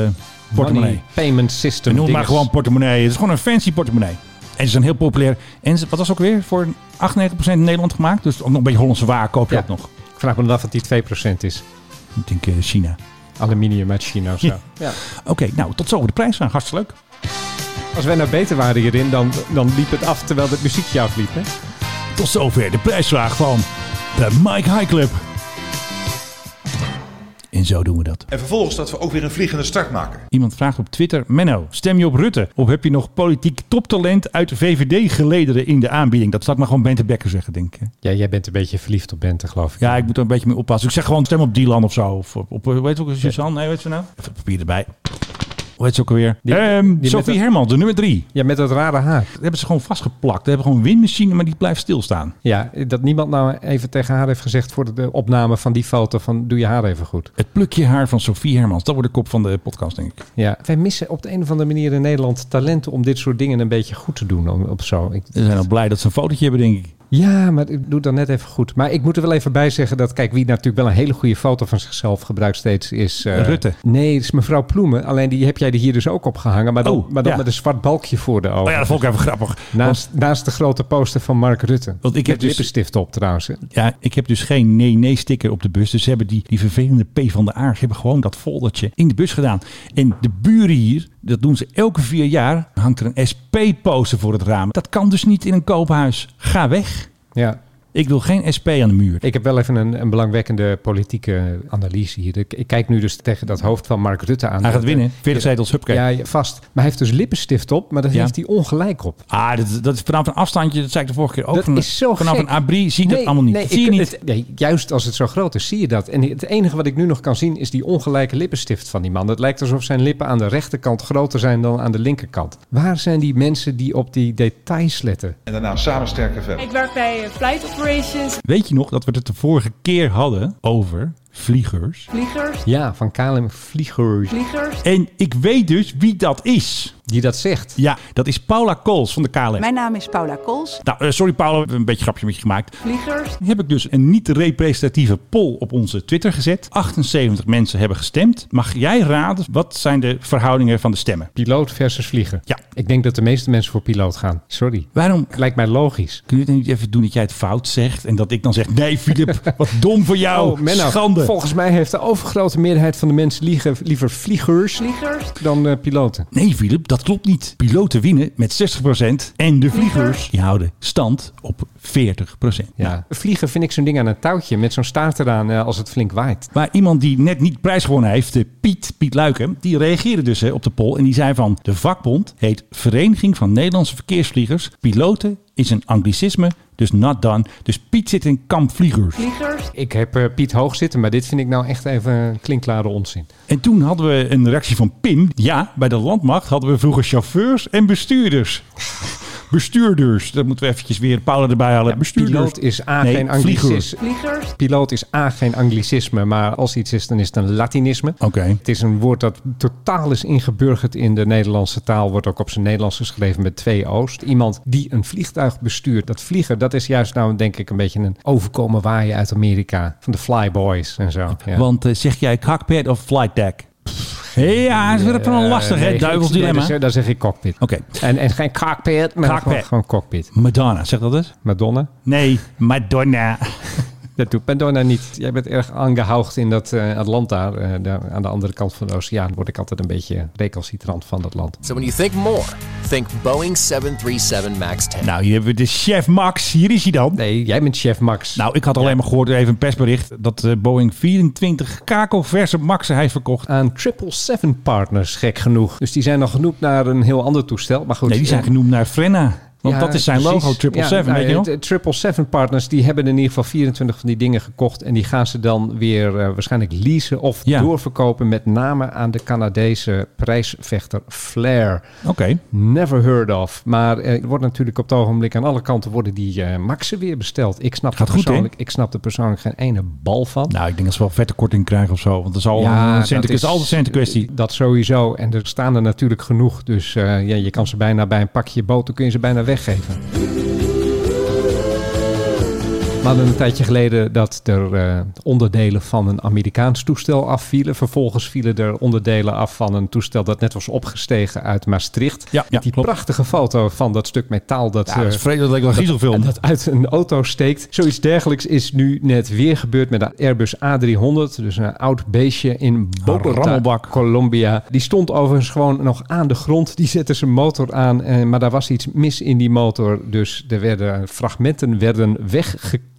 B: portemonnee.
C: Money Payment System.
B: Noem het maar
C: dinges.
B: gewoon portemonnee. Het is gewoon een fancy portemonnee. En ze zijn heel populair. En ze- wat was ook weer? Voor 98% in Nederland gemaakt. Dus ook nog een beetje Hollandse waar koop je
C: Ja.
B: dat nog.
C: Ik vraag me dan af wat die 2% is.
B: Ik denk eh, China.
C: Aluminium uit China of zo.
B: Ja. Oké, nou tot zo de prijs aan. Hartstikke leuk.
C: Als wij nou beter waren hierin, dan, dan liep het af terwijl het muziekje afliep. Hè?
B: Tot zover de prijsvraag van de Mike High Club. En zo doen we dat.
M: En vervolgens dat we ook weer een vliegende start maken.
B: Iemand vraagt op Twitter: Menno, stem je op Rutte? Of heb je nog politiek toptalent uit de VVD gelederen in de aanbieding? Dat staat maar gewoon Bente Bekker zeggen, denk ik. hè?
C: Ja, jij bent een beetje verliefd op Bente, geloof ik.
B: Ja, ik moet er een beetje mee oppassen. Ik zeg gewoon stem op Dylan of zo. Of op, op weet je ook, Suzanne? Nee, weet je nou? Even papier erbij. Hoe heet ze ook alweer?
C: Die-
B: Ehm,
C: die
B: Sophie
C: met dat-
B: Herman, de nummer drie.
C: Ja, met dat rare haar.
B: Dat hebben ze gewoon vastgeplakt. Ze hebben gewoon een windmachine, maar die blijft stilstaan.
C: Ja, dat niemand nou even tegen haar heeft gezegd voor de opname van die foto van doe je haar even goed.
B: Het plukje haar van Sophie Hermans. Dat wordt de kop van de podcast, denk ik.
C: Ja, wij missen op de een of andere manier in Nederland talenten om dit soort dingen een beetje goed te doen. Om, op zo. Ik,
B: Ze zijn al blij dat ze een fotootje hebben, denk ik.
C: ja, maar ik doe het dan net even goed. Maar ik moet er wel even bij zeggen dat, kijk, wie natuurlijk wel een hele goede foto van zichzelf gebruikt steeds is... eh,
B: Rutte.
C: Nee, het is mevrouw Ploemen. Alleen die heb jij er hier dus ook op gehangen. Maar dan,
B: Oh,
C: maar dan
B: ja.
C: met een zwart balkje voor de ogen.
B: Oh ja, dat vond ik even grappig.
C: naast, naast de grote poster van Mark Rutte.
B: Want ik heb
C: Met
B: dus-
C: lippenstift op trouwens. hè.
B: Ja, ik heb dus geen nee-nee-sticker op de bus. Dus ze hebben die, die vervelende P van de A. Ze hebben gewoon dat foldertje in de bus gedaan. En de buren hier, dat doen ze elke vier jaar, hangt er een SP-poster voor het raam. Dat kan dus niet in een koophuis. Ga weg.
C: Ja.
B: Ik wil geen SP aan de muur.
C: Ik heb wel even een, een belangwekkende politieke analyse hier. Ik, ik kijk nu dus tegen dat hoofd van Mark Rutte aan.
B: Hij gaat
C: Dat-
B: winnen. 40
C: Ja,
B: zetels, hupke.
C: Ja, ja, vast. Maar hij heeft dus lippenstift op, maar dat
B: Ja.
C: heeft hij ongelijk op.
B: Ah, dat, dat is vanaf een afstandje, dat zei ik de vorige keer ook.
C: dat
B: vanaf,
C: is zo
B: Vanaf
C: gek.
B: een abri zie je dat
C: Nee,
B: allemaal niet.
C: nee,
B: zie je
C: ik-
B: niet.
C: het- nee, juist als het zo groot is, zie je dat. En het enige wat ik nu nog kan zien is die ongelijke lippenstift van die man. Het lijkt alsof zijn lippen aan de rechterkant groter zijn dan aan de linkerkant. Waar zijn die mensen die op die details letten?
M: En daarna samen sterker verder.
N: Ik werk bij eh, Flight Operations,
B: Weet je nog dat we het de vorige keer hadden over vliegers?
N: vliegers,
C: Ja, van KLM Vliegers.
N: vliegers.
B: En ik weet dus wie dat is.
C: Die dat zegt.
B: Ja, dat is Paula Kools van de KLM.
O: Mijn naam is Paula Kools.
B: Nou, eh, sorry Paula, we hebben een beetje een grapje met je gemaakt.
O: Vliegers.
B: Heb ik dus een niet representatieve poll op onze Twitter gezet. 78 mensen hebben gestemd. Mag jij raden wat zijn de verhoudingen van de stemmen?
C: Piloot versus vliegen.
B: Ja.
C: Ik denk dat de meeste mensen voor piloot gaan. Sorry.
B: Waarom
C: Lijkt mij logisch.
B: kun je het niet even doen dat jij het fout zegt en dat ik dan zeg: nee, Filip, wat dom voor jou.
C: Oh, Menno,
B: Oh, Schande.
C: Volgens mij heeft de overgrote meerderheid van de mensen liegen, liever vliegers,
N: Vliegers.
C: dan eh, piloten.
B: Nee, Filip, dat klopt niet. Piloten winnen met 60% en de vliegers die houden stand op Nou, 40%.
C: Ja. Nou, Vliegen vind ik zo'n ding aan een touwtje met zo'n staart eraan eh, als het flink waait.
B: Maar iemand die net niet prijs gewonnen heeft, eh, Piet, Piet Luiken, die reageerde dus hè, op de poll. En die zei van, de vakbond heet Vereniging van Nederlandse Verkeersvliegers. Piloten is een anglicisme, dus not done. Dus Piet zit in kamp vliegers.
N: Vliegers.
C: Ik heb eh, Piet hoog zitten, maar dit vind ik nou echt even een klinkklare onzin.
B: En toen hadden we een reactie van Pim. Ja, bij de landmacht hadden we vroeger chauffeurs en bestuurders. Bestuurders, dat moeten we eventjes weer Paula erbij halen. Bestuurders.
C: Piloot is A
B: Nee,
C: geen
B: vliegers.
C: anglicisme.
N: Vliegers.
C: Piloot is A geen anglicisme, maar als iets is, dan is het een latinisme. Oké. Het is een woord dat totaal is ingeburgerd in de Nederlandse taal. Wordt ook op zijn Nederlands geschreven met twee O's. Iemand die een vliegtuig bestuurt. Dat vliegen, dat is juist nou denk ik een beetje een overkomen waaien uit Amerika. Van de flyboys en zo. Ja.
B: Want eh, zeg jij cockpit of flight deck? Ja, dat is weer een
C: Eh,
B: lastig, hè?
C: nee,
B: Duivels
C: ik- nee,
B: dilemma.
C: dan zeg- Dan zeg ik cockpit.
B: Oké.
C: En, en geen cockpit, maar
B: Cockpit.
C: Gewoon, gewoon cockpit.
B: Madonna, zeg dat eens.
C: Madonna?
B: Nee, Madonna.
C: Dat doet Madonna niet. Jij bent erg aangehoogd in dat eh, Atlanta. eh, daar aan de andere kant van de oceaan word ik altijd een beetje recalcitrant van dat land.
O: So when you think more, think Boeing 737 MAX 10.
B: Nou, hier hebben we de chef Max. Hier is hij dan.
C: Nee, jij bent chef Max.
B: Nou, ik had alleen maar gehoord, even een persbericht, dat eh, Boeing 24 kakelverse Maxen heeft verkocht.
C: Aan 777 partners, gek genoeg. Dus die zijn nog genoemd naar een heel ander toestel. Maar goed,
B: Nee, die zijn
C: eh,
B: genoemd naar Frenna. Want
C: ja,
B: dat is zijn
C: precies.
B: logo, 777,
C: Ja,
B: weet je
C: nou,
B: nog?
C: het- het 777 partners, die hebben in ieder geval 24 van die dingen gekocht. En die gaan ze dan weer eh, waarschijnlijk leasen of
B: Ja.
C: doorverkopen. Met name aan de Canadese prijsvechter Flair.
B: Oké.
C: Never heard of. Maar eh, er wordt natuurlijk op het ogenblik aan alle kanten worden die eh Maxen weer besteld. Ik snap,
B: Gaat
C: er
B: goed, hè?
C: persoonlijk, ik snap er persoonlijk geen ene bal van.
B: Nou, ik denk dat ze wel vette korting krijgen of zo. Want dat is al een centen- het is altijd een kwestie.
C: Dat sowieso. En er staan er natuurlijk genoeg. Dus eh, ja, je kan ze bijna bij een pakje boter kun je ze bijna weggeven. We hadden een tijdje geleden dat er eh, onderdelen van een Amerikaans toestel afvielen. Vervolgens vielen er onderdelen af van een toestel dat net was opgestegen uit Maastricht.
B: Ja, ja,
C: die prachtige foto van dat stuk metaal dat...
B: Ja, dat is
C: eh,
B: vreselijk, dat lijkt wel een giezelfilm.
C: dat uit een auto steekt. Zoiets dergelijks is nu net weer gebeurd met de Airbus A300. Dus een oud beestje in Bogota,
B: rammelbak.
C: Colombia. Die stond overigens gewoon nog aan de grond. Die zette zijn motor aan, eh, maar daar was iets mis in die motor. Dus er werden, fragmenten werden weggecatapuleerd.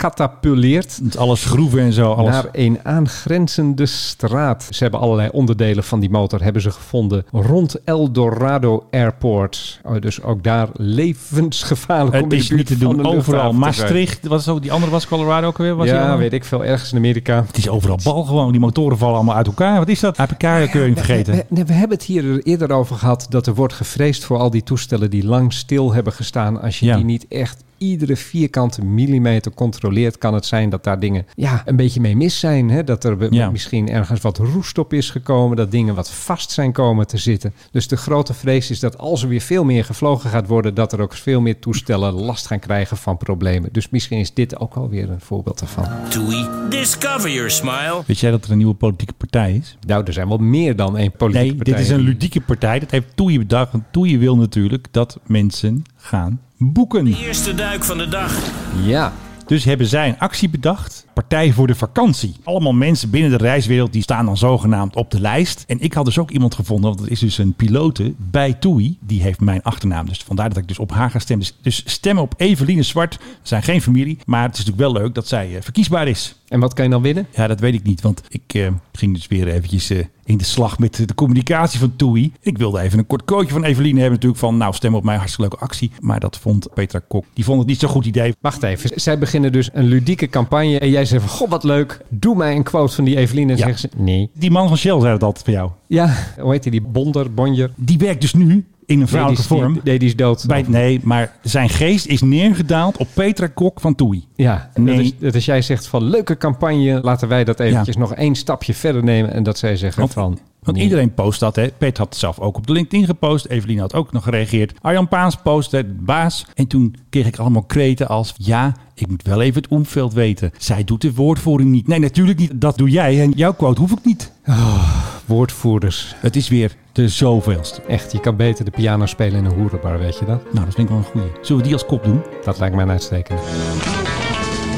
B: Met alles schroeven en zo. Alles.
C: Naar een aangrenzende straat. Ze hebben allerlei onderdelen van die motor hebben ze gevonden rond El Dorado Airport. Oh, dus ook daar levensgevaarlijk
B: het
C: om in de
B: is niet
C: buurt
B: te
C: van
B: doen.
C: een
B: Overal.
C: luchthaven te zijn.
B: Maastricht, wat is ook, die andere was Colorado ook weer? Was die
C: Ja,
B: andere?
C: weet ik veel. Ergens in Amerika.
B: Het is overal bal gewoon. Die motoren vallen allemaal uit elkaar. Wat is dat? Heb ik keuring vergeten.
C: We, nee, we hebben het hier eerder over gehad dat er wordt gevreesd voor al die toestellen die lang stil hebben gestaan. Als je
B: Ja.
C: die niet echt iedere vierkante millimeter controleert, kan het zijn dat daar dingen ja, een beetje mee mis zijn. Hè? Dat er we-
B: Ja.
C: misschien ergens wat roest op is gekomen, dat dingen wat vast zijn komen te zitten. Dus de grote vrees is dat als er weer veel meer gevlogen gaat worden, dat er ook veel meer toestellen last gaan krijgen van problemen. Dus misschien is dit ook alweer een voorbeeld daarvan.
D: Toei. Discover your smile.
B: Weet jij dat er een nieuwe politieke partij is?
C: Nou, er zijn wel meer dan één politieke
B: Nee,
C: partij.
B: dit is een ludieke partij. Dat heeft Toei bedacht. Want Toei wil natuurlijk dat mensen gaan boeken.
D: Eerste duik van de dag.
C: Ja.
B: Dus hebben zij een actie bedacht. Partij voor de vakantie. Allemaal mensen binnen de reiswereld die staan dan zogenaamd op de lijst. En ik had dus ook iemand gevonden, want dat is dus een pilote bij TUI. Die heeft mijn achternaam, dus vandaar dat ik dus op haar ga stemmen. Dus, dus stemmen op Eveline Zwart. We zijn geen familie, maar het is natuurlijk wel leuk dat zij eh, verkiesbaar is.
C: En wat kan je dan winnen?
B: Ja, dat weet ik niet, want ik eh, ging dus weer eventjes eh, in de slag met de communicatie van TUI. Ik wilde even een kort coachje van Eveline hebben natuurlijk van, nou stem op mijn hartstikke leuke actie. Maar dat vond Petra Kok, die vond het niet zo'n goed idee.
C: Wacht even, zij beginnen dus een ludieke campagne en jij zegt van, god wat leuk, doe mij een quote van die Evelien. En
B: Ja.
C: zeggen ze, nee.
B: Die man van Shell zei dat altijd voor jou.
C: Ja, hoe heet die, die bonder, bonjer?
B: Die werkt dus nu in een vrouwelijke
C: Nee, die is-
B: vorm.
C: die- nee, die is dood.
B: Bij, nee, maar zijn geest is neergedaald op Petra Kok van Toei.
C: Ja,
B: Nee.
C: dat, is, dat is jij zegt van, leuke campagne, laten wij dat eventjes nog één stapje verder nemen. En dat zij zeggen
B: Want-
C: van,
B: Want
C: nee.
B: iedereen post dat. Hè. Pet had zelf ook op de LinkedIn gepost. Evelien had ook nog gereageerd. Arjan Paans postte de baas. En toen kreeg ik allemaal kreten als... Ja, ik moet wel even het omveld weten. Zij doet de woordvoering niet. Nee, natuurlijk niet. Dat doe jij. En jouw quote hoef ik niet.
C: woordvoerders.
B: Het is weer de zoveelste.
C: Echt, je kan beter de piano spelen in een hoerenbar, weet je dat?
B: Nou, dat vind ik wel een goeie. Zullen we die als kop doen?
C: Dat lijkt mij een uitstekende.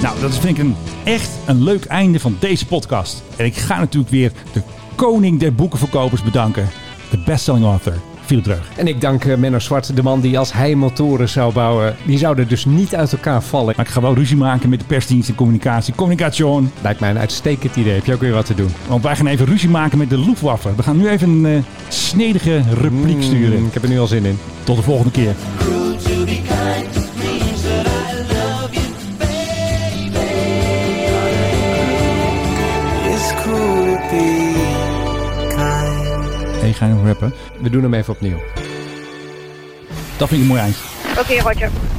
B: Nou, dat vind ik een, echt een leuk einde van deze podcast. En ik ga natuurlijk weer de koning der boekenverkopers bedanken. De bestselling author, Philip Dreug.
C: En ik dank eh, Menno Zwart, de man die als hij motoren zou bouwen, die zouden dus niet uit elkaar vallen.
B: Maar ik ga wel ruzie maken met de persdienst en communicatie. Communication.
C: Lijkt mij een uitstekend idee. Heb je ook weer wat te doen?
B: Want wij gaan even ruzie maken met de Luftwaffe. We gaan nu even een eh, snedige repliek sturen.
C: Mm, ik heb er nu al zin in.
B: Tot de volgende keer.
A: It's cool to be kind.
B: Hey, ga je nog rappen?
C: We doen hem even opnieuw.
B: Dat vind ik een mooi eindje.
J: Oké, Roger.